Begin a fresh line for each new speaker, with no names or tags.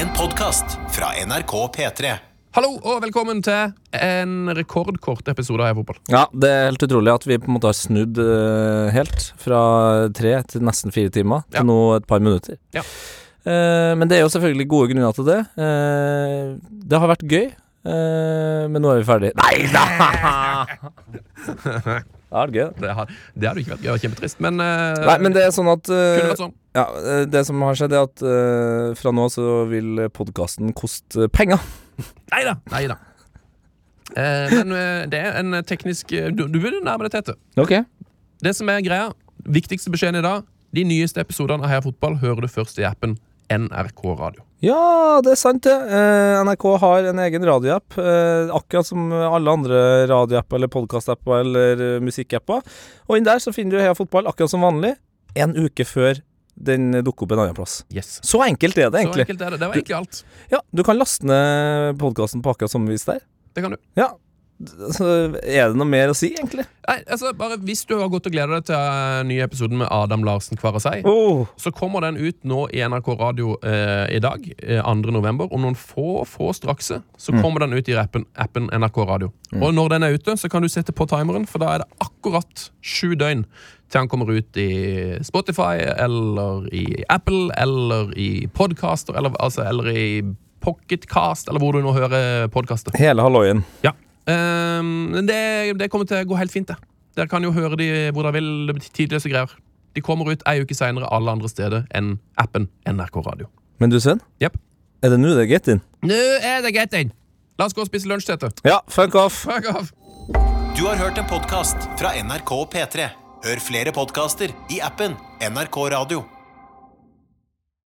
En podkast fra NRK P3.
Hallo og velkommen til en rekordkort episode av Fotball.
Ja, det er helt utrolig at vi på en måte har snudd eh, helt fra tre til nesten fire timer til
Ja.
nå et par minutter.
Ja.
Eh, men det er jo selvfølgelig gode grunner til det. Eh, det har vært gøy, eh, men nå er vi ferdig. Nei da! Det har vært gøy. da.
Det har, det har du ikke vært. Det var kjempetrist, men, eh,
Nei, men det er sånn at eh,
kunne vært sånn.
ja, eh, Det som har skjedd, er at eh, fra nå så vil podkasten koste penger.
Nei da. Nei da. Eh, men eh, det er en teknisk eh, Du, du burde nærme deg Tete.
Ok
Det som er greia, viktigste beskjeden i dag De nyeste episodene av Heia Fotball hører du først i appen NRK Radio.
Ja, det er sant det. Eh, NRK har en egen radioapp, eh, akkurat som alle andre radioapper eller podkastapper eller eh, musikkapper. Og inn der så finner du Heia Fotball akkurat som vanlig, en uke før den dukker opp en annen plass.
Yes.
Så enkelt er det,
Så
egentlig.
enkelt er det. Det var egentlig alt.
Ja, Du kan laste ned podkasten på akkurat samme vis der.
Det kan du.
Ja, så Er det noe mer å si, egentlig?
Nei, altså, bare Hvis du har gått og gleda deg til eh, nye episoden med Adam Larsen hver og seg,
Oh.
Så kommer den ut nå i NRK Radio eh, i dag, eh, 2. november. Om noen få, få strakse, så kommer den ut i appen, appen NRK Radio. Og når den er ute, så kan du sette på timeren, for da er det akkurat sju døgn til han kommer ut i Spotify, eller i Apple, eller i podcaster, eller, altså, eller i Pocketcast, eller hvor du nå hører podkaster.
Hele halloien.
Ja. Ehm, men det, det kommer til å gå helt fint, det. Dere kan jo høre de hvor dere vil. det betyr Tidløse greier. De kommer ut ei uke seinere alle andre steder enn appen NRK Radio.
Men du, Sven,
Jepp.
er det nå det er get in?
Nå er det greit, den! La oss gå og spise lunsj, Tete.
Ja, fuck off!
Fuck off!
Du har hørt en podkast fra NRK P3. Hør flere podkaster i appen NRK Radio.